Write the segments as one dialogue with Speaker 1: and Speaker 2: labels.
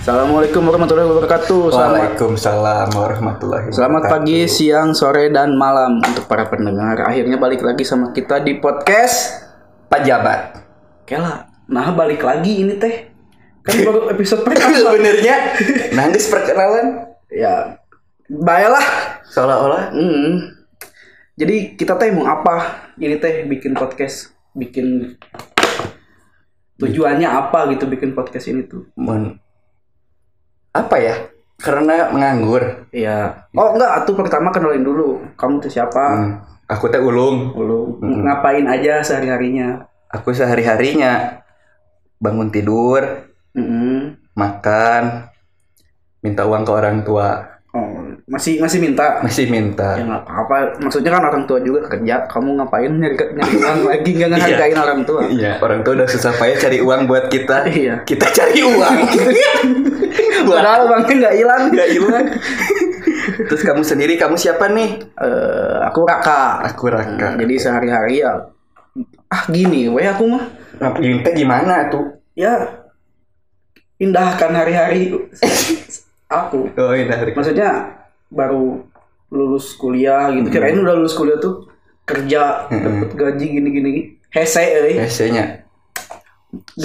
Speaker 1: Assalamualaikum warahmatullahi wabarakatuh. Selamat
Speaker 2: Waalaikumsalam warahmatullahi wabarakatuh.
Speaker 1: Selamat pagi, siang, sore, dan malam untuk para pendengar. Akhirnya balik lagi sama kita di podcast.
Speaker 2: Pak Jabat.
Speaker 1: Kela, nah balik lagi ini teh. Kan baru episode pertama.
Speaker 2: Sebenarnya nangis perkenalan
Speaker 1: ya, baiklah.
Speaker 2: seolah-olah
Speaker 1: Hmm. Jadi kita teh mau apa? Ini teh bikin podcast, bikin tujuannya apa gitu bikin podcast ini tuh?
Speaker 2: men- apa ya? Karena menganggur.
Speaker 1: Iya. Oh enggak, tuh pertama kenalin dulu. Kamu tuh siapa?
Speaker 2: Hmm. Aku teh ulung.
Speaker 1: Dulu ngapain aja sehari-harinya?
Speaker 2: Aku sehari-harinya bangun tidur,
Speaker 1: Mm-mm.
Speaker 2: makan, minta uang ke orang tua.
Speaker 1: Oh, masih masih minta.
Speaker 2: Masih
Speaker 1: Ya
Speaker 2: minta.
Speaker 1: nggak apa-apa. Maksudnya kan orang tua juga kerja. Kamu ngapain nyari nyari uang lagi nggak ngehargain orang tua?
Speaker 2: Iya, orang tua udah susah payah cari uang buat kita.
Speaker 1: Iya.
Speaker 2: Kita cari uang. Buat
Speaker 1: Padahal uangnya nggak hilang.
Speaker 2: nggak hilang. Terus kamu sendiri, kamu siapa nih?
Speaker 1: Eh, aku Raka.
Speaker 2: Aku Raka.
Speaker 1: Jadi sehari-hari ya ah gini weh aku mah
Speaker 2: Ini teh Nah, gimana tuh?
Speaker 1: ya indahkan hari-hari aku.
Speaker 2: Oh ini hari.
Speaker 1: Maksudnya baru lulus kuliah gitu. Kirain udah lulus kuliah tuh kerja dapet gaji gini-gini hese eh. euy.
Speaker 2: Hmm.
Speaker 1: Ya,
Speaker 2: Biasanya.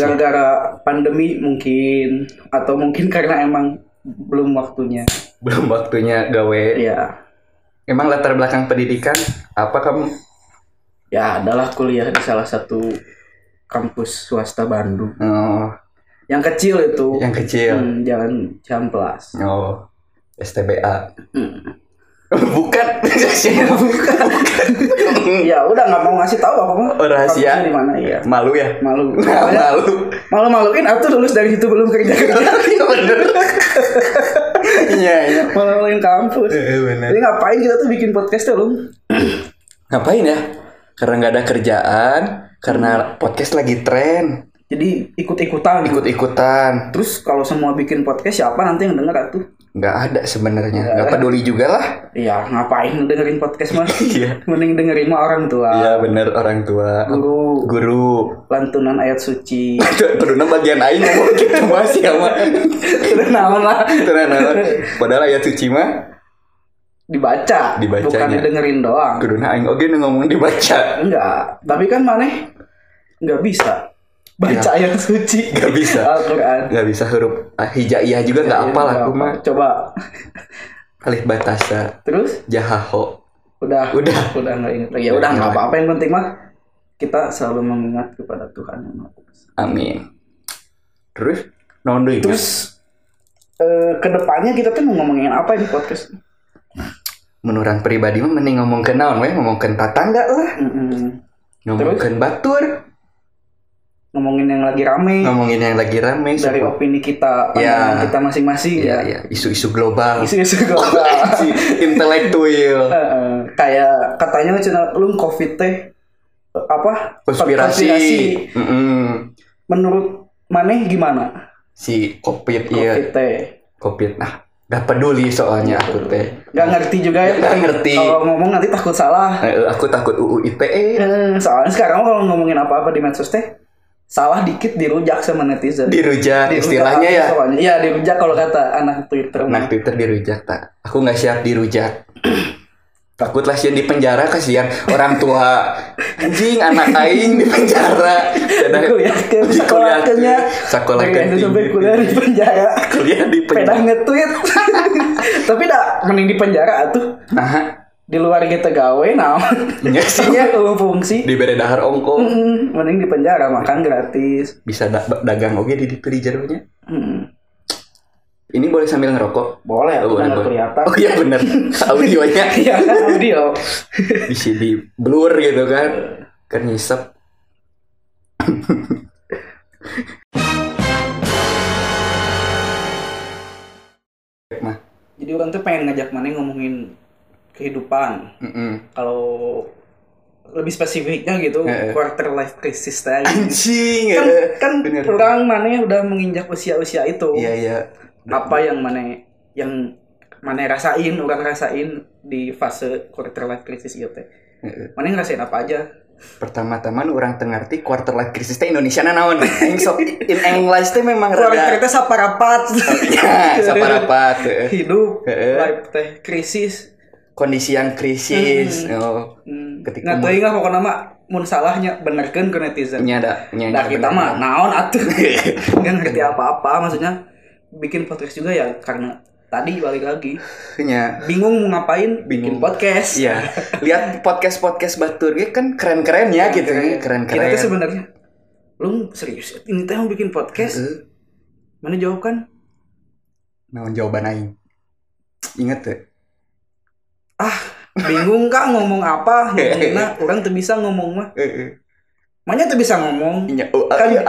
Speaker 1: gara-gara pandemi mungkin atau mungkin karena emang belum waktunya.
Speaker 2: Belum waktunya gawe.
Speaker 1: Ya,
Speaker 2: Emang latar belakang pendidikan apa kamu?
Speaker 1: ya adalah kuliah di salah satu kampus swasta Bandung.
Speaker 2: Oh,
Speaker 1: Yang kecil itu
Speaker 2: yang kecil.
Speaker 1: Hmm, jalan Ciamplas.
Speaker 2: Oh, STBA.
Speaker 1: Hmm.
Speaker 2: Bukan. Bukan.
Speaker 1: Ya udah nggak mau ngasih tahu apa mah.
Speaker 2: Oh, rahasia.
Speaker 1: Kampusnya di mana ya?
Speaker 2: Malu ya?
Speaker 1: Malu.
Speaker 2: Malu.
Speaker 1: Malu maluin atau lulus dari situ belum kerja kerja.
Speaker 2: Iya bener. Iya iya.
Speaker 1: Malu maluin kampus.
Speaker 2: Eh, bener.
Speaker 1: Jadi ngapain kita tuh bikin podcast tuh, Lum?
Speaker 2: Ngapain ya? Karena nggak ada kerjaan, karena podcast lagi tren,
Speaker 1: Jadi ikut-ikutan.
Speaker 2: ikut-ikutan.
Speaker 1: Terus kalau semua bikin podcast siapa nanti yang denger atuh?
Speaker 2: Nggak ada sebenarnya, nggak peduli juga lah.
Speaker 1: Iya, ngapain dengerin podcast mah?
Speaker 2: Iya.
Speaker 1: Mending dengerin mah orang tua.
Speaker 2: Iya bener orang tua,
Speaker 1: Guru
Speaker 2: guru.
Speaker 1: lantunan ayat suci.
Speaker 2: Terus bagian aing ngomong gitu masih sama.
Speaker 1: Udah naon lah
Speaker 2: Terus padahal ayat suci mah
Speaker 1: dibaca,
Speaker 2: Dibacanya.
Speaker 1: bukan didengerin doang.
Speaker 2: kuduna aing oge nu ngomong dibaca.
Speaker 1: Enggak, tapi kan maneh nggak bisa baca ayat suci. Iya,
Speaker 2: Nggak Iya. bisa.
Speaker 1: Al-Qur'an. Iya,
Speaker 2: Nggak bisa huruf ah, hijaiyah juga nggak apal aku mah.
Speaker 1: Coba
Speaker 2: Alif batasa,
Speaker 1: terus
Speaker 2: jahaho.
Speaker 1: udah
Speaker 2: Udah.
Speaker 1: udah nggak ingat lagi. Ya udah nggak apa-apa yang penting mah kita selalu mengingat kepada Tuhan yang Maha
Speaker 2: Iya.
Speaker 1: Kuasa.
Speaker 2: Amin. Terus naon deui?
Speaker 1: Terus eh, kedepannya kita tuh mau ngomongin apa di podcast?
Speaker 2: menurang pribadi mah mending ngomong ke naon weh, ngomong ke tetangga lah,
Speaker 1: Mm-mm.
Speaker 2: ngomong ke batur,
Speaker 1: Ngomongin yang lagi rame.
Speaker 2: ngomongin yang lagi rame
Speaker 1: dari
Speaker 2: seperti-
Speaker 1: opini kita pandangan
Speaker 2: Ya.
Speaker 1: kita masing-masing
Speaker 2: ya, ya, isu-isu global,
Speaker 1: isu-isu global
Speaker 2: Si intelektual,
Speaker 1: Heeh. Eh, kayak katanya channel lu covid teh eh, apa
Speaker 2: konspirasi, Mm-mm.
Speaker 1: menurut maneh gimana
Speaker 2: si covid, iya,
Speaker 1: covid teh
Speaker 2: covid, nah, gak peduli soalnya aku teh,
Speaker 1: nggak ngerti juga ya
Speaker 2: gak ngerti,
Speaker 1: kalau ngomong nanti takut salah
Speaker 2: Eh, aku takut UU ITE
Speaker 1: Eh, soalnya sekarang kalau ngomongin apa-apa di medsos teh salah dikit dirujak sama netizen
Speaker 2: dirujak
Speaker 1: Dirujak
Speaker 2: istilahnya ya,
Speaker 1: soalnya. iya dirujak kalau kata anak twitter
Speaker 2: nah Twitter dirujak tak, aku nggak siap dirujak. Takut lah sian di penjara kasihan orang tua anjing anak aing di penjara. Dadah.
Speaker 1: kuliah ke sekolahnya
Speaker 2: sekolah ke
Speaker 1: Dari SD sampai
Speaker 2: tinggi.
Speaker 1: kuliah di penjara
Speaker 2: kuliah di
Speaker 1: pedah
Speaker 2: penjara.
Speaker 1: nge-tweet tapi dah mending di penjara tuh
Speaker 2: Nah,
Speaker 1: di luar kita gawe nah
Speaker 2: nya sih nya.
Speaker 1: Eueuh fungsi
Speaker 2: di bere dahar ongko
Speaker 1: Mm, mending di penjara makan gratis
Speaker 2: bisa da- dagang oge di di jarunya.
Speaker 1: Mm,
Speaker 2: Ini boleh sambil ngerokok.
Speaker 1: boleh aku
Speaker 2: Oh, boleh,
Speaker 1: nggak
Speaker 2: boleh.
Speaker 1: kelihatan
Speaker 2: Oh iya bener Audionya
Speaker 1: Iya kan audio
Speaker 2: Bisa di blur gitu kan Kan ngisep Nah,
Speaker 1: jadi orang tuh pengen ngajak mana ngomongin kehidupan
Speaker 2: mm-mm.
Speaker 1: kalau lebih spesifiknya gitu
Speaker 2: Heeh.
Speaker 1: quarter life crisis tadi
Speaker 2: Anjing
Speaker 1: kan
Speaker 2: eh.
Speaker 1: kan
Speaker 2: Bener.
Speaker 1: orang mana udah menginjak usia-usia itu
Speaker 2: Iya iya
Speaker 1: apa yang mana yang mana rasain orang rasain di fase quarter life crisis gitu teh
Speaker 2: Heeh.
Speaker 1: mana ngerasain apa aja
Speaker 2: pertama-tama nu orang tengerti quarter life crisis teh Indonesia na naon Aing sok in English teh memang
Speaker 1: Keluarga
Speaker 2: rada
Speaker 1: kita saparapat.
Speaker 2: ya saparapat heeh.
Speaker 1: Hidup,
Speaker 2: Heeh.
Speaker 1: life teh krisis.
Speaker 2: kondisi yang krisis oh
Speaker 1: Hmm.
Speaker 2: Ketika
Speaker 1: Nggak
Speaker 2: mah-
Speaker 1: tahu ingat pokoknya mah mun salahnya benerkeun ke netizen.
Speaker 2: nyada nyada
Speaker 1: Nah kita mah naon atuh.
Speaker 2: Iya.
Speaker 1: Nggak ngerti apa-apa maksudnya bikin podcast juga ya karena tadi balik lagi
Speaker 2: nya
Speaker 1: bingung mau ngapain bikin
Speaker 2: Bingung.
Speaker 1: podcast.
Speaker 2: iya lihat podcast podcast batur ge kan keren keren ya gitu keren
Speaker 1: Kita tuh
Speaker 2: keren
Speaker 1: sebenarnya lu serius ini teh mau bikin
Speaker 2: Eh,
Speaker 1: podcast? Mana jawab kan?
Speaker 2: naon jawaban Aing inget tuh
Speaker 1: "Ah, Bingung kak ngomong apa? Nah, orang tuh bisa ngomong mah. Mana tuh bisa ngomong?
Speaker 2: Nya,
Speaker 1: Eh,
Speaker 2: oh,
Speaker 1: Kan-
Speaker 2: iya.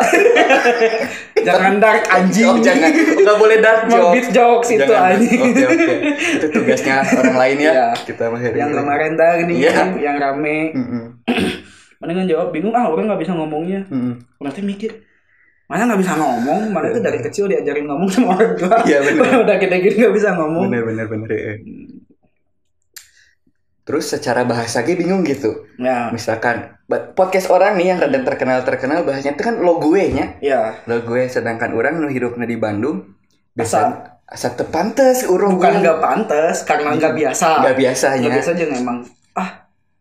Speaker 1: Jangan dark anjing.
Speaker 2: Oh, jangan nggak boleh dark
Speaker 1: Mau
Speaker 2: joke
Speaker 1: beat jokes itu
Speaker 2: Jangan. Oh,
Speaker 1: anjing.
Speaker 2: Oke, oke. Itu tugasnya orang lain ya.
Speaker 1: Iya.
Speaker 2: Kita mah
Speaker 1: yang kemarin dah nih
Speaker 2: Iya.
Speaker 1: yang rame mendingan jawab bingung ah orang nggak bisa ngomongnya berarti mikir mana nggak bisa ngomong mana tuh dari kecil diajarin ngomong sama orang tua
Speaker 2: Iya, bener.
Speaker 1: udah gede gini nggak bisa ngomong
Speaker 2: Bener bener bener. eh. Terus secara bahasa ge bingung gitu.
Speaker 1: ya
Speaker 2: Misalkan ba- podcast orang nih yang rada terkenal terkenal bahasanya itu kan lo gue nya.
Speaker 1: ya
Speaker 2: Lo gue sedangkan orang nu hidupnya di Bandung
Speaker 1: Asa.
Speaker 2: biasa asa teu pantes urung
Speaker 1: bukan nggak pantas karena nggak biasa
Speaker 2: Iya. Nggak biasanya.
Speaker 1: nggak biasa aja emang ah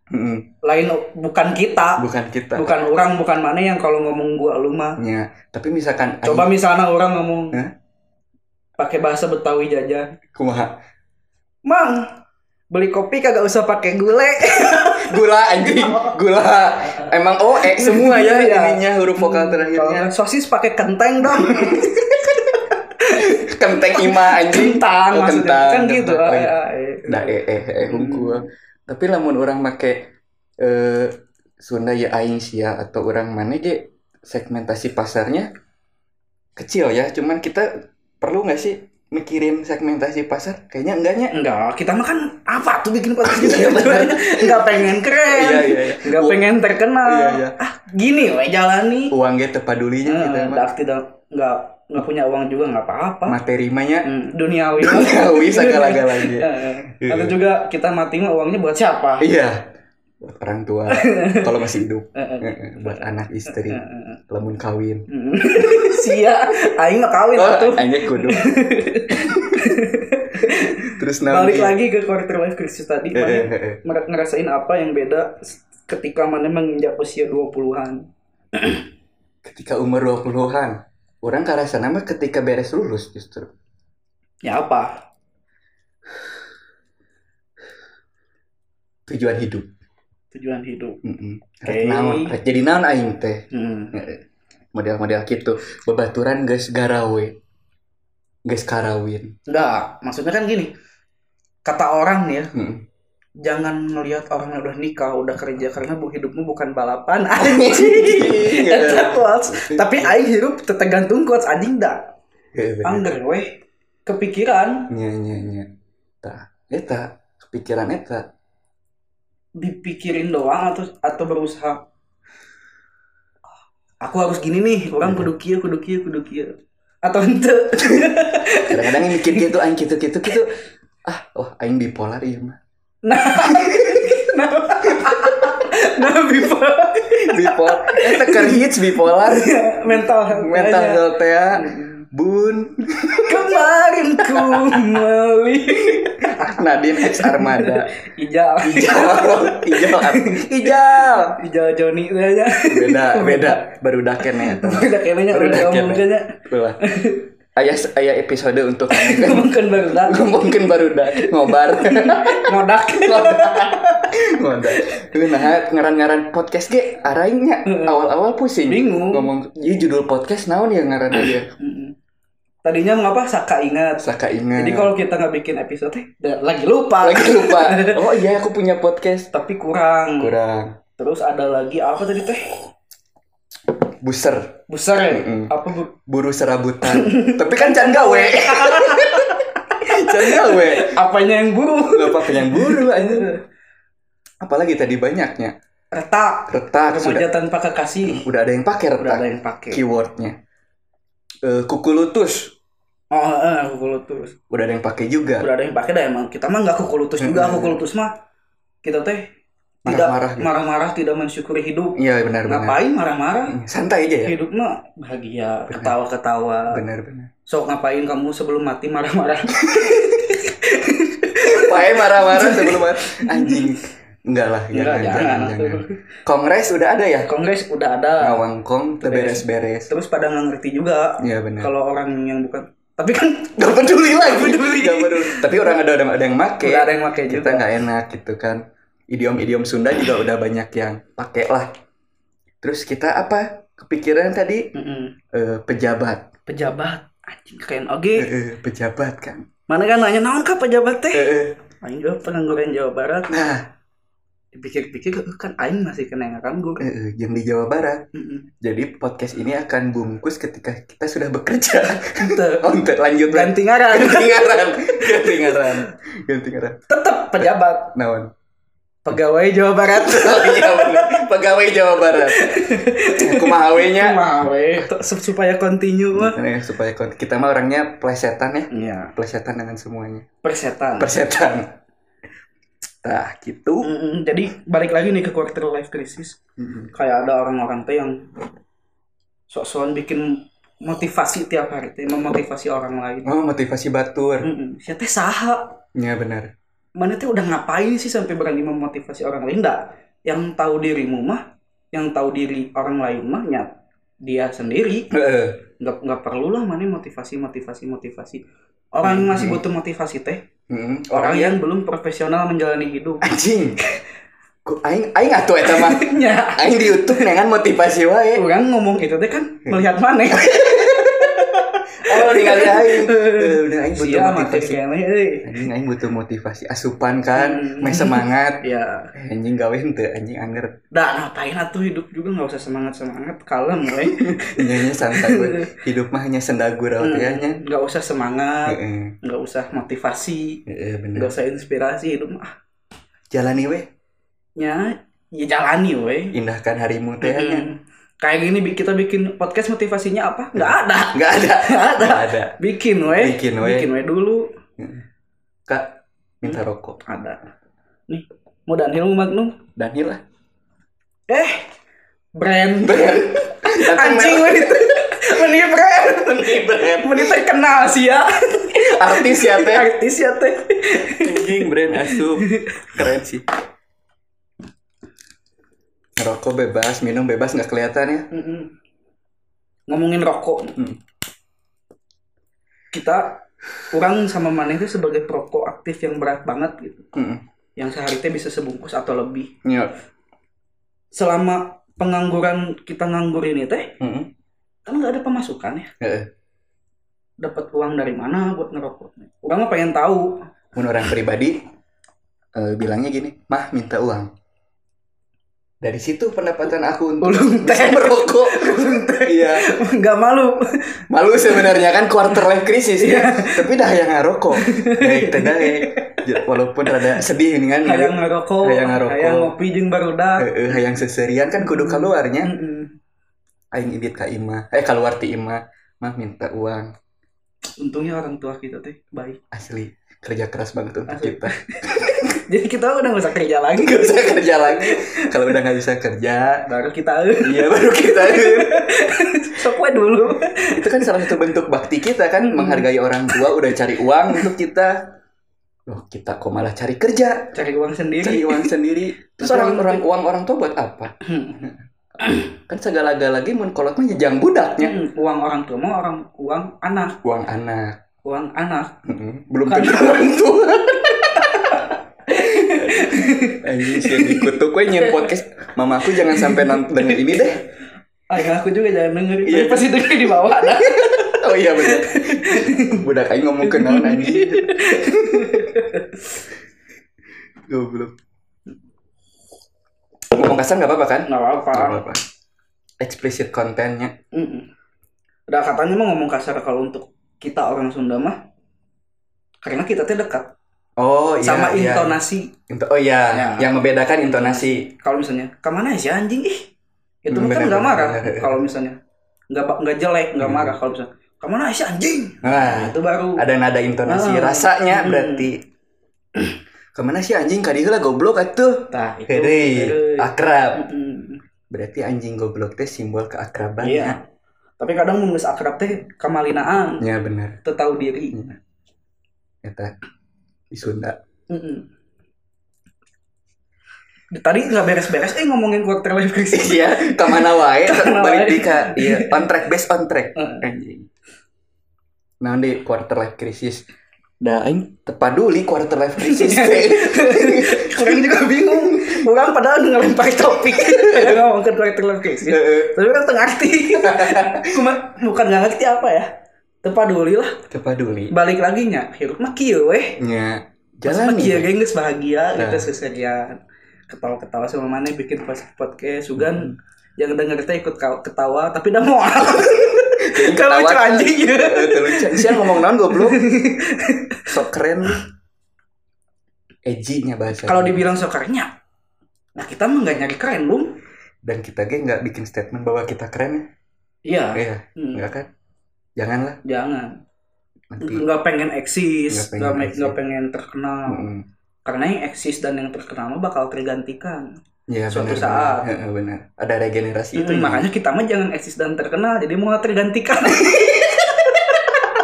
Speaker 2: Mm-mm.
Speaker 1: lain bukan kita
Speaker 2: Bukan kita.
Speaker 1: bukan orang bukan mana yang kalau ngomong gua lu mah
Speaker 2: Nya. Tapi misalkan
Speaker 1: coba
Speaker 2: anjing,
Speaker 1: misalnya orang ngomong
Speaker 2: Hah?
Speaker 1: pakai bahasa betawi jajan
Speaker 2: kumaha?
Speaker 1: mang beli kopi kagak usah pakai gulai
Speaker 2: Gula anjing, gula. Emang oh eh semua ya
Speaker 1: Iya.
Speaker 2: ininya huruf
Speaker 1: Kalau
Speaker 2: vokal terakhirnya.
Speaker 1: nggak sosis pakai kenteng dong.
Speaker 2: Kenteng ima anjing.
Speaker 1: kentang
Speaker 2: Oh,
Speaker 1: maksudnya.
Speaker 2: kentang,
Speaker 1: kan gitu.
Speaker 2: kentang.
Speaker 1: ae, ae.
Speaker 2: Nah, eh eh eh
Speaker 1: Hmm.
Speaker 2: hungkul. Tapi lamun orang make eh Sunda ya aing sia atau orang mana ge segmentasi pasarnya kecil ya, cuman kita perlu nggak sih mikirin segmentasi pasar? Kayaknya enggaknya.
Speaker 1: Enggak, kita mah kan apa tuh bikin podcast gitu
Speaker 2: Iya, bener.
Speaker 1: Enggak pengen keren.
Speaker 2: Iya, iya, iya.
Speaker 1: Enggak
Speaker 2: Gua-
Speaker 1: pengen terkenal.
Speaker 2: Iya, iya.
Speaker 1: Ah, gini we jalani.
Speaker 2: Uang ge gitu ya, tepadulinya kita
Speaker 1: Heeh,
Speaker 2: mah.
Speaker 1: dak Gitu. tidak Hmm, enggak enggak punya uang juga enggak apa-apa.
Speaker 2: Materi mah nya
Speaker 1: Hmm, duniawi. Iya.
Speaker 2: duniawi segala-galanya.
Speaker 1: Heeh. Atau juga kita mati mah uangnya buat siapa?
Speaker 2: Iya. Buat orang tua kalau masih hidup.
Speaker 1: Heeh.
Speaker 2: Heeh, buat
Speaker 1: eh,
Speaker 2: anak istri
Speaker 1: Heeh.
Speaker 2: lamun kawin
Speaker 1: Hmm. Sia, aing mah kawin atuh.
Speaker 2: oh anjir kudu terus naon
Speaker 1: balik
Speaker 2: ieu?
Speaker 1: lagi ke quarter life crisis tadi
Speaker 2: Eh, eh,
Speaker 1: mana
Speaker 2: eh, eh.
Speaker 1: mer- ngerasain apa yang beda s- ketika mana menginjak usia 20-an
Speaker 2: ketika umur 20-an orang karasa nama ketika beres lulus justru
Speaker 1: ya apa
Speaker 2: tujuan hidup
Speaker 1: tujuan hidup
Speaker 2: Mm-mm.
Speaker 1: Eh.
Speaker 2: Rek naon rek jadi naon aing teh
Speaker 1: hmm.
Speaker 2: Eh, model-model gitu bebaturan guys garawe guys karawin
Speaker 1: enggak maksudnya kan gini kata orang nih ya
Speaker 2: Mm.
Speaker 1: jangan melihat orang yang udah nikah udah kerja karena bu hidupmu bukan balapan anjing
Speaker 2: Iya.
Speaker 1: Eta quotes. tapi aing hidup tergantung quotes anjing dah
Speaker 2: Eh, bener.
Speaker 1: angger weh kepikiran
Speaker 2: Ah. nya nya nya Tah, eta kepikiran eh, eta
Speaker 1: dipikirin doang atau atau berusaha aku harus gini nih
Speaker 2: Iya.
Speaker 1: orang kudu kieu kudu kieu kudu kieu atau ente
Speaker 2: kadang-kadang yang mikir gitu aing gitu gitu gitu ah wah aing bipolar iya mah
Speaker 1: nah nah nah bipolar
Speaker 2: bipolar eta keur hits bipolar
Speaker 1: mental health
Speaker 2: mental
Speaker 1: aja.
Speaker 2: health ya bun
Speaker 1: kemarin ku meli
Speaker 2: Nadiem X Armada
Speaker 1: ijal
Speaker 2: ijal ijal Ar- ijal
Speaker 1: ijal Joni aja
Speaker 2: beda beda baru daken ya eta.
Speaker 1: udah kayaknya
Speaker 2: Baru
Speaker 1: udah
Speaker 2: daken,
Speaker 1: ngomong
Speaker 2: ya.
Speaker 1: aja
Speaker 2: Ulah. ayah ayah episode untuk ngomongkeun-
Speaker 1: mungkin baru dah
Speaker 2: ngomongkeun baru dak ngobar
Speaker 1: ngodak
Speaker 2: ngobar Tuh, nah ngaran-ngaran podcast ge arainya awal-awal pusing
Speaker 1: Bingung.
Speaker 2: ngomong "Ieu judul podcast naon ya ngaran dia
Speaker 1: Mm-mm. tadinya ngapa saka ingat
Speaker 2: saka ingat
Speaker 1: Jadi kalau kita nggak bikin episode, eh, da- lagi lupa.
Speaker 2: Iya. lagi lupa oh iya aku punya podcast
Speaker 1: Tapi kurang.
Speaker 2: kurang
Speaker 1: Terus ada lagi apa tadi teh?
Speaker 2: buser
Speaker 1: Besar ya?
Speaker 2: Mm-mm.
Speaker 1: Apa bu?
Speaker 2: buru serabutan tapi kan can gawe can gawe
Speaker 1: Apanya yang buruk?
Speaker 2: lupa yang buru aja apalagi tadi banyaknya
Speaker 1: Retak.
Speaker 2: retak
Speaker 1: Remaja
Speaker 2: sudah
Speaker 1: tanpa kekasih.
Speaker 2: udah ada yang pakai
Speaker 1: Udah
Speaker 2: retak
Speaker 1: ada yang pakai.
Speaker 2: keywordnya Eh, kuku lutus
Speaker 1: Oh, eh, kuku lutus.
Speaker 2: udah ada yang pakai juga
Speaker 1: Udah ada yang pakai dah emang. Kita mah nggak kuku lutus juga. Kuku lutus mah kita teh tidak
Speaker 2: Marah-marah gitu.
Speaker 1: marah-marah tidak mensyukuri hidup
Speaker 2: Iya benar-benar.
Speaker 1: ngapain Iya. marah-marah
Speaker 2: Santai aja ya.
Speaker 1: hidup mah bahagia
Speaker 2: Benar.
Speaker 1: ketawa-ketawa
Speaker 2: Benar-benar.
Speaker 1: sok ngapain kamu sebelum mati marah-marah
Speaker 2: Pakai E marah-marah sebelum anjing. Enggak lah,
Speaker 1: Enggak,
Speaker 2: jangan, jangan,
Speaker 1: jangan.
Speaker 2: jangan. Kongres udah ada ya?
Speaker 1: kongres udah ada
Speaker 2: Ngawangkong, beres-beres.
Speaker 1: terus pada nggak ngerti juga
Speaker 2: Iya Nah. benar.
Speaker 1: kalau orang yang bukan tapi kan
Speaker 2: Gak peduli lagi.
Speaker 1: Gak peduli.
Speaker 2: Gak peduli. Tapi orang ada ada, ada yang make.
Speaker 1: udah ada yang pakai
Speaker 2: Kita
Speaker 1: juga
Speaker 2: nggak enak gitu kan. Idiom-idiom Sunda juga udah banyak yang pakai lah. Terus kita apa? Kepikiran tadi
Speaker 1: Mm-mm.
Speaker 2: eh, pejabat.
Speaker 1: pejabat anjing keren oke
Speaker 2: Eh, eh, pejabat kan.
Speaker 1: mana kan nanya naon kah pejabat teh
Speaker 2: Eh, eh.
Speaker 1: aing juga pengangguran Jawa Barat
Speaker 2: Nah,
Speaker 1: dipikir-pikir eh, kan aing masih kena nganggur
Speaker 2: eh, eh, yang di Jawa Barat.
Speaker 1: Mm-mm.
Speaker 2: Jadi podcast ini akan bungkus ketika kita sudah bekerja.
Speaker 1: Teu.
Speaker 2: Untuk lanjut lagi.
Speaker 1: ganti ngaran
Speaker 2: Gantingaran, gantingaran, gantingaran.
Speaker 1: tetap pejabat
Speaker 2: Naon?
Speaker 1: pegawai Jawa Barat
Speaker 2: Iya bener. Pegawai Jawa Barat. Kumaha we nya?
Speaker 1: Mah, weh. supaya continue mah
Speaker 2: Ini supaya kon- kita mah orangnya plesetan ya,
Speaker 1: Iya,
Speaker 2: plesetan dengan semuanya.
Speaker 1: persetan.
Speaker 2: Persetan. Nah, gitu.
Speaker 1: Mm, jadi balik lagi nih ke quarter life crisis. Kayak ada orang-orang teh yang sok-sokan bikin motivasi tiap hari teh memotivasi orang lain.
Speaker 2: Oh, motivasi batur.
Speaker 1: Mm, Ya teh saha?
Speaker 2: Ya benar.
Speaker 1: Mana teh udah ngapain sih sampai berani memotivasi orang lain dah? Yang tahu dirimu mah, yang tahu diri orang lain mah nya dia sendiri.
Speaker 2: Heeh.
Speaker 1: Nggak nggak perlulah mana motivasi motivasi motivasi. Orang yang masih
Speaker 2: Mm.
Speaker 1: butuh motivasi teh,
Speaker 2: Mm,
Speaker 1: orang
Speaker 2: Orang yang
Speaker 1: yang belum profesional menjalani hidup.
Speaker 2: anjing. Ku aing aing atuh eta mah.
Speaker 1: Ya.
Speaker 2: Aing di YouTube nengan motivasi wae.
Speaker 1: orang ngomong itu teh kan
Speaker 2: Hmm.
Speaker 1: melihat mana
Speaker 2: Oh, ningali aing. Eh, Udah aing butuh
Speaker 1: sia materi
Speaker 2: motivasi.
Speaker 1: kene euy
Speaker 2: Anjing aing butuh motivasi asupan kan,
Speaker 1: Hmm.
Speaker 2: main semangat.
Speaker 1: ya
Speaker 2: Eh, Anjing gawe henteu anjing anger
Speaker 1: dah ngapain atuh hidup juga nggak usah semangat semangat kalem we
Speaker 2: Nyanyi santai gue. Hidup mah hanya senda gurau teh nya.
Speaker 1: Hmm. nggak usah semangat
Speaker 2: Heeh.
Speaker 1: nggak usah motivasi
Speaker 2: Heeh, bener.
Speaker 1: nggak usah inspirasi hidup mah
Speaker 2: Jalani we,
Speaker 1: nya ya jalani we
Speaker 2: indahkan harimu teh nya.
Speaker 1: Mm. kayak gini bi- kita bikin podcast motivasinya apa nggak ada
Speaker 2: Enggak ada.
Speaker 1: nggak ada
Speaker 2: Enggak ada.
Speaker 1: bikin we
Speaker 2: Bikin we.
Speaker 1: bikin we dulu
Speaker 2: Kak, minta rokok.
Speaker 1: ada nih mau Danhil mau Magnum
Speaker 2: Daniel lah.
Speaker 1: eh brand anjing
Speaker 2: Anjing
Speaker 1: we itu Meni brand
Speaker 2: brand.
Speaker 1: Meni terkenal sih ya
Speaker 2: Artis ya teh.
Speaker 1: Artis ya teh
Speaker 2: Anjing brand asup. Keren sih. Ngerokok bebas, minum bebas nggak kelihatan ya.
Speaker 1: Mm-mm. Ngomongin rokok
Speaker 2: Hmm.
Speaker 1: Kita Orang sama Maneh itu sebagai perokok aktif yang berat banget gitu
Speaker 2: Heeh.
Speaker 1: Yang sehari teh bisa sebungkus atau lebih
Speaker 2: Iya.
Speaker 1: Selama pengangguran kita nganggur ini teh
Speaker 2: Heeh.
Speaker 1: Kan nggak ada pemasukan ya
Speaker 2: Heeh.
Speaker 1: Dapat uang dari mana buat ngerokok Orang mah pengen tahu
Speaker 2: Mun orang pribadi eh, bilangnya gini, mah minta uang. Dari situ pendapatan aku untuk
Speaker 1: Ulung
Speaker 2: bisa merokok. Iya,
Speaker 1: Nggak malu
Speaker 2: malu sebenarnya kan quarter life crisis ya. Tapi dah yang ngarokok. Daek teh daek. J- Ya, Walaupun rada sedih ini kan.
Speaker 1: Hayang ngerokok
Speaker 2: Hayang ngerokok.
Speaker 1: hayang ngopi jeung barudak
Speaker 2: Eh, eh, hayang seserian kan kudu keluarnya.
Speaker 1: Mm-mm.
Speaker 2: Aing idit ka Ima. Eh keluar ti Ima. Mah minta uang.
Speaker 1: Untungnya orang tua kita teh baik
Speaker 2: Asli kerja keras banget untuk
Speaker 1: Asli.
Speaker 2: kita.
Speaker 1: Jadi kita udah nggak usah kerja lagi
Speaker 2: Gak usah kerja lagi. Kalau udah nggak bisa kerja,
Speaker 1: Baru kita eh,
Speaker 2: iya baru kita.
Speaker 1: Sok we dulu
Speaker 2: itu kan salah satu bentuk bakti kita kan menghargai orang tua udah cari uang untuk kita loh kita kok malah cari kerja
Speaker 1: cari uang
Speaker 2: cari
Speaker 1: sendiri
Speaker 2: uang sendiri terus orang orang uang orang tua buat apa
Speaker 1: Hmm.
Speaker 2: kan segala galanya mun kolot mah jejang budaknya
Speaker 1: Hmm, uang orang tua mau orang uang anak
Speaker 2: uang anak
Speaker 1: uang anak
Speaker 2: Mm-mm. belum
Speaker 1: Kan-
Speaker 2: tentu orang tua Anjing sih yang dikutuk gue nyen podcast Mamaku jangan sampai nonton denger ini deh
Speaker 1: ayah aku juga jangan denger
Speaker 2: Iya.
Speaker 1: Tapi pasti denger di bawah ada
Speaker 2: Oh iya bener Budak aing ngomong kenal anjing Goblok Ngomong kasar gak apa-apa kan?
Speaker 1: nggak apa,
Speaker 2: Gak apa-apa Explicit kontennya
Speaker 1: udah katanya mah ngomong kasar kalau untuk kita orang Sunda mah karena kita teh dekat
Speaker 2: Oh iya
Speaker 1: sama
Speaker 2: iya.
Speaker 1: intonasi
Speaker 2: Into- Oh iya
Speaker 1: Ya.
Speaker 2: Yang membedakan intonasi
Speaker 1: kalau misalnya kemana sih anjing ih itu mah kan
Speaker 2: Bener,
Speaker 1: nggak
Speaker 2: bener,
Speaker 1: marah
Speaker 2: bener.
Speaker 1: kalau misalnya nggak ba- nggak jelek nggak
Speaker 2: Hmm.
Speaker 1: marah kalau misalnya kemana sih anjing
Speaker 2: Nah
Speaker 1: itu baru
Speaker 2: Ada nada intonasi
Speaker 1: Ah.
Speaker 2: Rasanya
Speaker 1: Hmm.
Speaker 2: berarti kemana sih anjing kadieu lah goblok atuh
Speaker 1: Tah, Nah, itu.
Speaker 2: Heudeui,
Speaker 1: heudeui.
Speaker 2: akrab
Speaker 1: Mm-mm.
Speaker 2: berarti anjing goblok teh simbol keakraban ya
Speaker 1: Iya. Tapi kadang mun geus akrab teh kamalinaan,
Speaker 2: ya bener
Speaker 1: teu tahu diri.
Speaker 2: eta di Sunda
Speaker 1: Mm-mm. Tadi nggak beres-beres eh ngomongin quarter life crisis.
Speaker 2: iya kemana wae
Speaker 1: Kemana wae.
Speaker 2: balik di ka iya on track based on track
Speaker 1: Heeh.
Speaker 2: anjing nah di quarter life crisis dah aing tepaduli quarter life crisis
Speaker 1: Orang juga bingung. Orang padahal ngelempar topik. Ada ngomongin quarter life crisis. Tapi orang tengah ngerti. Cuma bukan nggak ngerti apa ya. Tepaduli lah.
Speaker 2: tepaduli
Speaker 1: Balik lagi nya. Hirup mah kieu weh.
Speaker 2: nya
Speaker 1: Jalan
Speaker 2: jalan
Speaker 1: Kia geng geus bahagia
Speaker 2: Anu. Nah.
Speaker 1: gitu seserian. Ketawa-ketawa sama mana bikin pas- podcast
Speaker 2: Hmm.
Speaker 1: sugan yang denger teh ikut ka- ketawa tapi udah mau. Kalau lucu anjing ya.
Speaker 2: Iya, Siapa ngomong naon goblok? Sok keren lu. Edgy nya bahasa.
Speaker 1: Kalau dibilang sokernya. Nah, kita mah nggak nyari keren, Bung.
Speaker 2: dan kita ge nggak bikin statement bahwa kita keren
Speaker 1: Iya.
Speaker 2: ya. Iya,
Speaker 1: Hmm,
Speaker 2: enggak kan? Janganlah
Speaker 1: Jangan.
Speaker 2: nanti.
Speaker 1: Nggak pengen eksis,
Speaker 2: Nggak pengen
Speaker 1: nggak me-
Speaker 2: eksis.
Speaker 1: nggak pengen terkenal.
Speaker 2: Mm.
Speaker 1: Karena yang eksis dan yang terkenal mah bakal tergantikan.
Speaker 2: Ya,
Speaker 1: Suatu
Speaker 2: benar,
Speaker 1: saat.
Speaker 2: benar. Heeh, benar. Ada regenerasi itu.
Speaker 1: Hmm, makanya kita mah jangan eksis dan terkenal, jadi mau tergantikan.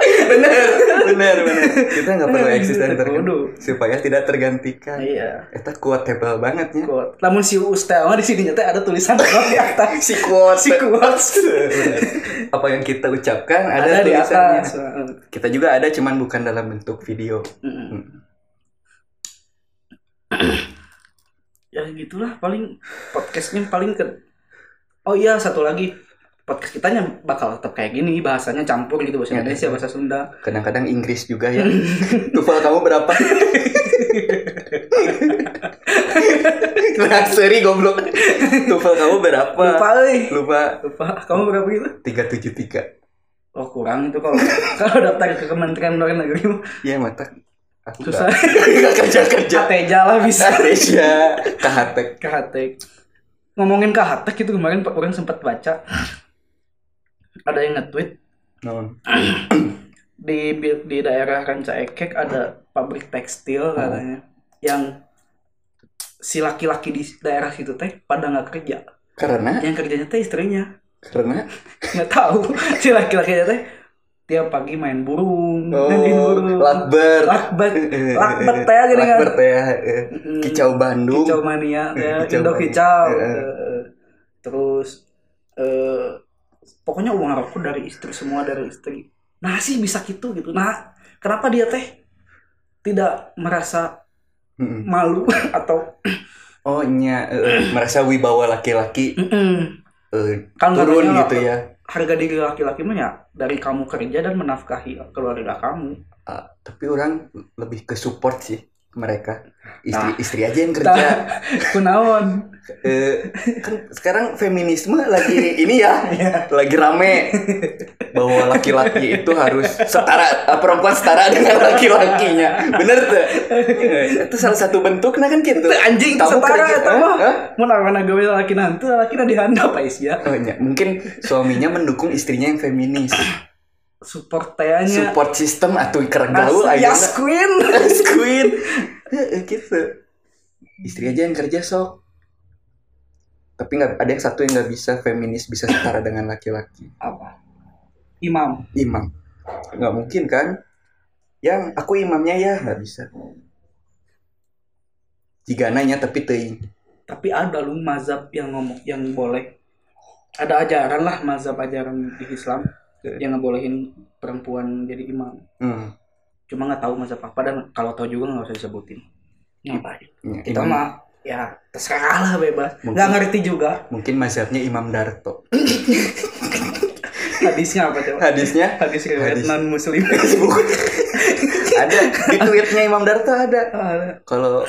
Speaker 2: benar, benar, benar. Kita nggak perlu eksis dan terkenal
Speaker 1: Kudu.
Speaker 2: supaya tidak tergantikan.
Speaker 1: Iya.
Speaker 2: Eta kuat tebal banget ya.
Speaker 1: quote. Namun si Ustaz mah di sini nyata ada tulisan quote di atas.
Speaker 2: Si kuat.
Speaker 1: Si quotes.
Speaker 2: Benar. Apa yang kita ucapkan
Speaker 1: Ada,
Speaker 2: ada,
Speaker 1: di
Speaker 2: tulisannya.
Speaker 1: atas. Heeh.
Speaker 2: Kita juga ada cuman bukan dalam bentuk video.
Speaker 1: Mm-mm.
Speaker 2: Hmm.
Speaker 1: ya gitulah paling podcastnya paling ke oh iya satu lagi podcast kitanya bakal tetap kayak gini bahasanya campur gitu bahasa
Speaker 2: Iya,
Speaker 1: Indonesia
Speaker 2: iya.
Speaker 1: bahasa Sunda
Speaker 2: Kadang-kadang Inggris juga ya. Tufel kamu berapa? Nah, seri goblok. Tufel kamu berapa?
Speaker 1: lupa euy
Speaker 2: Lupa
Speaker 1: lupa kamu berapa gitu
Speaker 2: 373.
Speaker 1: oh kurang itu kalau kalau daftar ke Kementerian Luar Negeri mah
Speaker 2: Iya, mata. Aku
Speaker 1: susah
Speaker 2: Gak kerja-kerja.
Speaker 1: Kateja lah bisa
Speaker 2: Indonesia Kahatek
Speaker 1: Kehatek ngomongin Kehatek itu kemarin Pak orang sempat baca ada yang nge-tweet
Speaker 2: non
Speaker 1: di di daerah Ranca Ekek ada pabrik tekstil katanya yang si laki-laki di daerah situ teh pada nggak kerja
Speaker 2: karena
Speaker 1: yang kerjanya teh istrinya
Speaker 2: karena
Speaker 1: nggak tahu si laki-laki teh tiap pagi main burung main
Speaker 2: oh lakber
Speaker 1: lakbat lakbat teh gini kan
Speaker 2: lakber teh eh,
Speaker 1: Mm,
Speaker 2: kicau Bandung
Speaker 1: kicau mania
Speaker 2: Eh,
Speaker 1: teh
Speaker 2: kicau
Speaker 1: indo
Speaker 2: mania.
Speaker 1: kicau
Speaker 2: Eh, eh.
Speaker 1: Eh, terus eh pokoknya uang rokok dari istri semua dari istri nah sih bisa gitu gitu nah kenapa dia teh tidak merasa
Speaker 2: Mm-mm.
Speaker 1: malu atau
Speaker 2: oh nya eh, eh, merasa wibawa laki-laki
Speaker 1: Mm-mm.
Speaker 2: eh,
Speaker 1: kan
Speaker 2: turun
Speaker 1: katanya
Speaker 2: gitu ya
Speaker 1: harga diri laki-laki mah ya dari kamu kerja dan menafkahi keluarga kamu
Speaker 2: Ah, tapi orang lebih ke support sih mereka
Speaker 1: Nah.
Speaker 2: istri-istri aja yang kerja
Speaker 1: kunaon
Speaker 2: Eh, kan sekarang feminisme lagi ini ya
Speaker 1: Iya.
Speaker 2: lagi rame bahwa laki-laki itu harus setara eh, perempuan setara dengan laki-lakinya bener tuh Eh, itu salah satu bentuknya kan gitu
Speaker 1: Itu anjing itu setara
Speaker 2: kerja- Eh?
Speaker 1: eta mah
Speaker 2: Hah?
Speaker 1: mun awana gawe laki nanti laki na dihandap ais ya
Speaker 2: Oh, ya. mungkin suaminya mendukung istrinya yang feminis
Speaker 1: Iya. support teh nya
Speaker 2: support system atau kereng gaul
Speaker 1: Asli,
Speaker 2: ayeuna.
Speaker 1: Yas Queen
Speaker 2: Yes, queen Heeh, gitu istri aja yang kerja sok tapi nggak ada yang satu yang nggak bisa feminis bisa setara dengan laki-laki
Speaker 1: apa imam
Speaker 2: imam nggak mungkin kan yang aku imamnya ya nggak bisa jika nanya tapi teuing
Speaker 1: tapi ada lu mazhab yang ngomong yang boleh ada ajaran lah mazhab ajaran di Islam yang ngebolehin perempuan jadi imam
Speaker 2: hmm.
Speaker 1: cuma nggak tahu mazhab apa dan kalau tahu juga nggak usah disebutin ngapain
Speaker 2: ya,
Speaker 1: kita
Speaker 2: imam-
Speaker 1: mah ya terserah lah bebas
Speaker 2: Mungkin.
Speaker 1: nggak ngerti juga
Speaker 2: mungkin mazhabnya Imam Darto
Speaker 1: hadisnya apa coba
Speaker 2: hadisnya
Speaker 1: hadis riwayat
Speaker 2: Hadis.
Speaker 1: non muslim
Speaker 2: ada di tweetnya Imam Darto ada
Speaker 1: Ah,
Speaker 2: kalau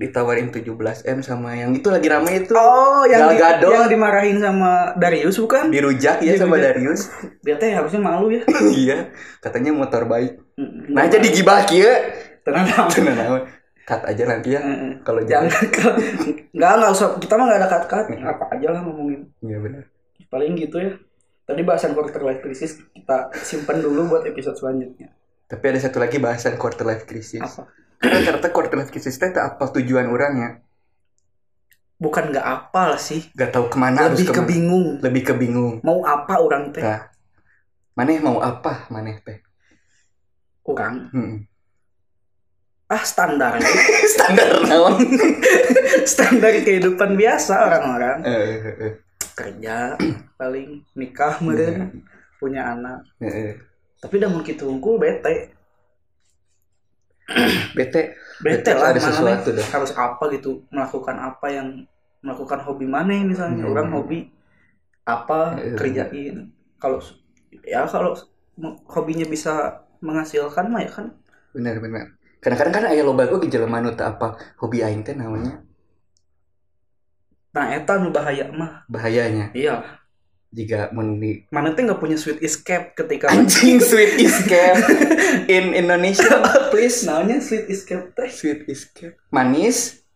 Speaker 2: ditawarin 17 m sama yang itu lagi rame itu
Speaker 1: oh yang
Speaker 2: Gal
Speaker 1: di-
Speaker 2: Gadot.
Speaker 1: yang dimarahin sama Darius bukan
Speaker 2: dirujak ya sama
Speaker 1: Dirujak.
Speaker 2: Darius
Speaker 1: dia teh harusnya malu ya
Speaker 2: iya katanya motor baik
Speaker 1: Mm,
Speaker 2: nah jadi gibah kieu
Speaker 1: tenang tenang.
Speaker 2: Tenang, naon. cut aja nanti ya
Speaker 1: Mm,
Speaker 2: kalau
Speaker 1: jangan
Speaker 2: jangan
Speaker 1: nggak nggak usah kita mah nggak ada kat kat
Speaker 2: Hmm.
Speaker 1: apa aja lah ngomongin
Speaker 2: iya benar
Speaker 1: paling gitu ya tadi bahasan quarter life crisis kita simpan dulu buat episode selanjutnya
Speaker 2: tapi ada satu lagi bahasan quarter life crisis
Speaker 1: apa
Speaker 2: karena ternyata quarter life crisis teh teu apal tujuan ya. orangnya
Speaker 1: bukan nggak apal sih
Speaker 2: gak tahu kemana Nah, harus
Speaker 1: lebih
Speaker 2: kemana.
Speaker 1: kebingung
Speaker 2: lebih ke bingung
Speaker 1: mau apa orang teh
Speaker 2: Nah. maneh mau apa maneh teh
Speaker 1: orang
Speaker 2: Hmm.
Speaker 1: ah standar
Speaker 2: standar naon
Speaker 1: standar kehidupan biasa orang-orang
Speaker 2: Eh, eh, eh,
Speaker 1: kerja paling nikah
Speaker 2: Iya.
Speaker 1: meren punya anak
Speaker 2: eh, eh.
Speaker 1: tapi udah mau gitu unggul bete
Speaker 2: bete
Speaker 1: bete
Speaker 2: Bete
Speaker 1: lah
Speaker 2: ada
Speaker 1: mana
Speaker 2: sesuatu
Speaker 1: nih.
Speaker 2: dah.
Speaker 1: harus apa gitu melakukan apa yang melakukan hobi mana misalnya
Speaker 2: Hmm.
Speaker 1: orang hobi apa
Speaker 2: Iya.
Speaker 1: kerjain kalau ya kalau m- hobinya bisa menghasilkan mah ya kan
Speaker 2: bener bener kadang-kadang kan aya loba oge jelema nu teu apal hobi aing teh naonnya
Speaker 1: nah eta nu bahaya mah
Speaker 2: bahayanya
Speaker 1: iya
Speaker 2: jika mun di
Speaker 1: mana teh nggak punya sweet escape ketika
Speaker 2: anjing sweet escape in Indonesia please
Speaker 1: Naunya sweet escape teh
Speaker 2: Nah, sweet escape manis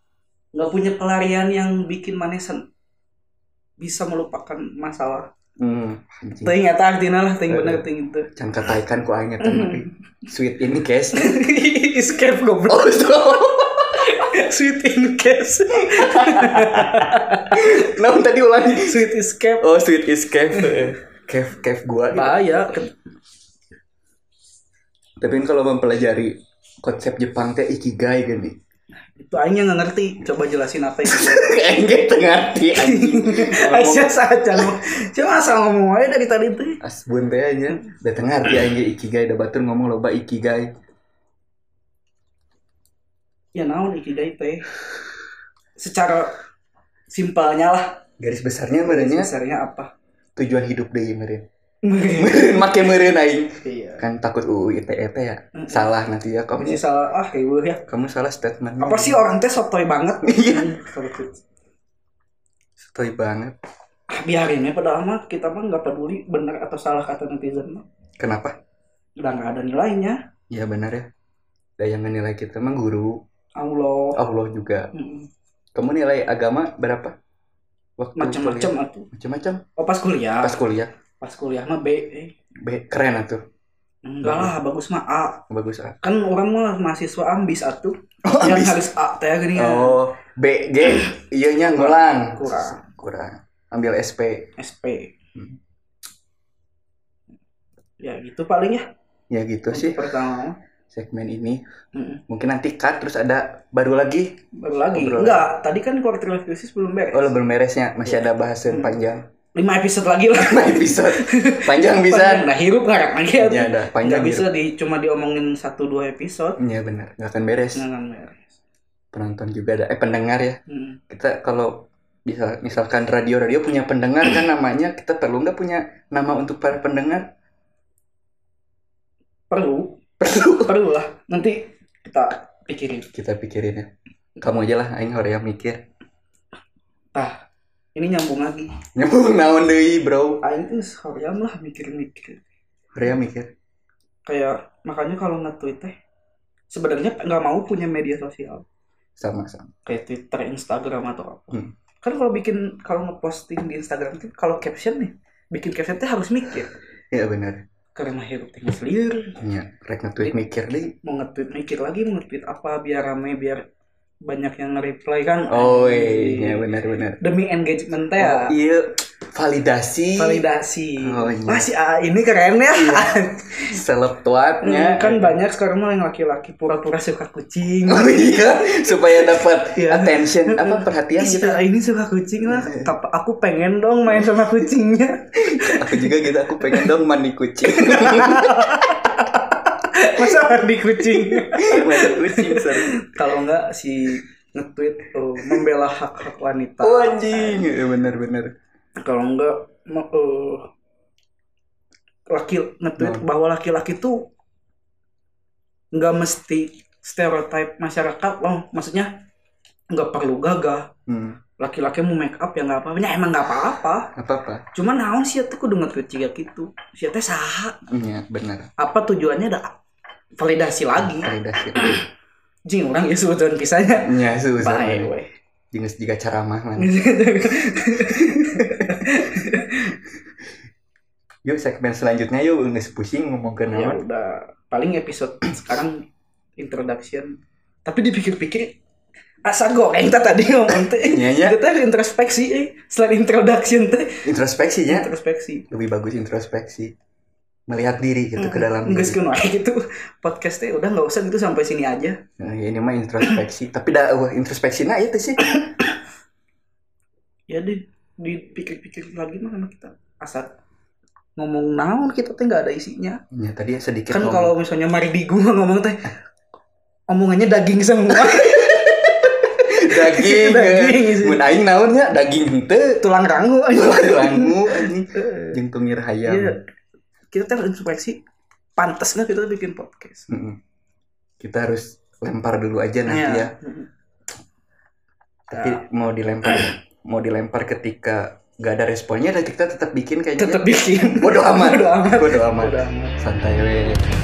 Speaker 1: nggak punya pelarian yang bikin maneh sen- bisa melupakan masalah.
Speaker 2: hmm anjing
Speaker 1: Teuing eta artina lah teuing bener
Speaker 2: Eh.
Speaker 1: teuing teu.
Speaker 2: can kataikan ku aing eta mah. sweet in case
Speaker 1: Escape goblok.
Speaker 2: oh itu
Speaker 1: Sweet in case.
Speaker 2: naon Nah, tadi ulangi
Speaker 1: Sweet escape.
Speaker 2: oh sweet escape cave cave gua gitu.
Speaker 1: Bahaya. Ke-
Speaker 2: tapi kan kalau mempelajari konsep Jepang teh ikigai kan, gini
Speaker 1: Itu aing nggak ngerti. Coba jelasin apa itu.
Speaker 2: enggak ngerti anjing
Speaker 1: Aisyah saja ngomong. Cuma asal ngomong aja dari tadi tuh.
Speaker 2: asbun teh ya. aja da teu ngarti aing ge ikigai da batur ngomong loba ikigai
Speaker 1: Ya naon ikidai teh. Secara simpelnya lah.
Speaker 2: garis besarnya merenya
Speaker 1: Dasarnya apa?
Speaker 2: tujuan hidup deui meureun meureun make meureun aing
Speaker 1: Iya.
Speaker 2: kan takut UU ITE teh ya salah nanti ya kamu
Speaker 1: Masih salah ah ibu ya.
Speaker 2: kamu salah statement
Speaker 1: Apa sih orang teh sotoy banget? Iya.
Speaker 2: Stoy banget
Speaker 1: ah, biarin ya padahal mah kita mah nggak peduli benar atau salah kata netizen mah
Speaker 2: kenapa
Speaker 1: udah nggak ada nilainya
Speaker 2: ya benar ya da yang nilai kita mah guru
Speaker 1: Allah
Speaker 2: Allah juga
Speaker 1: Mm,
Speaker 2: kamu nilai agama berapa waktu
Speaker 1: macam-macam atuh
Speaker 2: macam-macam
Speaker 1: oh pas kuliah
Speaker 2: pas kuliah
Speaker 1: pas kuliah mah B eh.
Speaker 2: B keren atuh Nah.
Speaker 1: enggak lah bagus mah A
Speaker 2: bagus ah
Speaker 1: kan orang mah mahasiswa ambis atuh
Speaker 2: Oh,
Speaker 1: yang
Speaker 2: ambis.
Speaker 1: harus A teh gini ya
Speaker 2: oh B G iya nya ngulang
Speaker 1: Kurang.
Speaker 2: kurang ambil SP
Speaker 1: SP
Speaker 2: Hmm.
Speaker 1: ya gitu paling ya
Speaker 2: ya gitu
Speaker 1: untuk
Speaker 2: sih
Speaker 1: pertama
Speaker 2: segmen ini
Speaker 1: Mm,
Speaker 2: mungkin nanti cut terus ada baru lagi
Speaker 1: baru lagi
Speaker 2: Obrolan.
Speaker 1: enggak tadi kan quarter life crisis belum beres
Speaker 2: oh belum beresnya masih
Speaker 1: Iya.
Speaker 2: ada
Speaker 1: Mm.
Speaker 2: bahasan panjang
Speaker 1: lima episode lagi lah
Speaker 2: nah episode panjang bisa
Speaker 1: nah hirup ngarang lagi atuh.
Speaker 2: ya ada
Speaker 1: nggak
Speaker 2: panjang
Speaker 1: bisa di cuma diomongin satu dua episode
Speaker 2: Iya benar nggak akan beres
Speaker 1: jangan beres
Speaker 2: penonton juga ada eh pendengar ya
Speaker 1: Hmm.
Speaker 2: kita kalau bisa misalkan radio radio punya pendengar kan namanya kita perlu nggak punya nama untuk para pendengar
Speaker 1: perlu
Speaker 2: perlu
Speaker 1: perlu lah nanti kita pikirin
Speaker 2: kita pikirin ya kamu aja lah aing hoream mikir
Speaker 1: tah ini nyambung lagi
Speaker 2: nyambung naon deui bro
Speaker 1: aing tuh sekalian lah mikir-mikir
Speaker 2: hoream mikir
Speaker 1: kayak makanya kalau nge-tweet teh sebenarnya nggak mau punya media sosial
Speaker 2: sama sama
Speaker 1: kayak Twitter Instagram atau apa
Speaker 2: Hmm.
Speaker 1: kan kalau bikin kalau ngeposting di Instagram tuh kalau caption nih bikin caption teh harus mikir
Speaker 2: iya benar
Speaker 1: karena hirup teh ngeselir
Speaker 2: Iya, rek nge-tweet mikir deui
Speaker 1: mau nge-tweet mikir lagi mau nge-tweet apa biar rame biar banyak yang nge-reply kan
Speaker 2: Oh
Speaker 1: Anjing.
Speaker 2: iya benar-benar.
Speaker 1: demi engagement teh ya.
Speaker 2: Iya validasi
Speaker 1: validasi
Speaker 2: iya. Oh, iya.
Speaker 1: Wah, si A ini keren ya
Speaker 2: selebtuatnya
Speaker 1: kan banyak sekarang mah yang laki-laki pura-pura suka kucing
Speaker 2: Oh iya supaya dapat
Speaker 1: Iya.
Speaker 2: attention apa perhatian
Speaker 1: Ih, si
Speaker 2: gitu.
Speaker 1: A ini suka kucing lah
Speaker 2: Iya.
Speaker 1: Kap- aku pengen dong main sama kucingnya
Speaker 2: Aku juga gitu aku pengen dong mandi kucing.
Speaker 1: masa mandi kucing
Speaker 2: mandi kucing seru.
Speaker 1: kalau enggak si nge-tweet oh, membela hak-hak wanita
Speaker 2: Oh anjing Iya, benar-benar.
Speaker 1: kalau enggak ma- eh, laki nge-tweet
Speaker 2: Hmm.
Speaker 1: bahwa laki-laki tuh nggak mesti stereotip masyarakat loh maksudnya nggak perlu gagah
Speaker 2: Hmm,
Speaker 1: laki-laki mau make up ya nggak apa-apa ya emang nggak apa-apa
Speaker 2: apa apa?
Speaker 1: cuman naon sih tuh kudu nge-tweet juga gitu sih teh saha
Speaker 2: Iya benar.
Speaker 1: apa tujuannya ada validasi lagi
Speaker 2: Validasi.
Speaker 1: jing orang ya sebetulnya pisahnya
Speaker 2: Iya susah.
Speaker 1: bye weh
Speaker 2: Jingus jika ceramah man. Yuk segmen selanjutnya yuk nggak pusing ngomong ke
Speaker 1: ya
Speaker 2: naon.
Speaker 1: udah paling episode sekarang introduction tapi dipikir-pikir asa goreng teh tadi ngomong teh
Speaker 2: Iya, iya.
Speaker 1: itu teh introspeksi eh. selain introduction teh
Speaker 2: introspeksinya
Speaker 1: introspeksi
Speaker 2: lebih bagus introspeksi melihat diri gitu ke dalam
Speaker 1: nggak
Speaker 2: diri.
Speaker 1: sih gitu podcast teh udah nggak usah gitu sampai sini aja
Speaker 2: Nah, ini mah introspeksi tapi dah wah introspeksi nah itu sih
Speaker 1: ya deh dipikir-pikir lagi mah sama kita asa ngomong naon kita teh nggak ada isinya
Speaker 2: ya tadi sedikit
Speaker 1: kan
Speaker 2: ngomong.
Speaker 1: kalau misalnya Mardigu mah ngomong teh omongannya daging semua Iya,
Speaker 2: daging
Speaker 1: Daging,
Speaker 2: eh.
Speaker 1: sih.
Speaker 2: mun aing naonnya daging henteu
Speaker 1: tulang rangu
Speaker 2: langu anjing jeung tungir hayam
Speaker 1: Iya. kita teh introspeksi pantas nggak kita bikin podcast Iya.
Speaker 2: Mm-mm. kita harus lempar dulu
Speaker 1: Nah,
Speaker 2: aja nanti ya tapi mau dilempar mau dilempar ketika gak ada responnya dan kita tetap bikin kayaknya
Speaker 1: tetap bikin
Speaker 2: bodoh amat
Speaker 1: Bodo amat.
Speaker 2: bodoh amat
Speaker 1: Bodo amat.
Speaker 2: santai we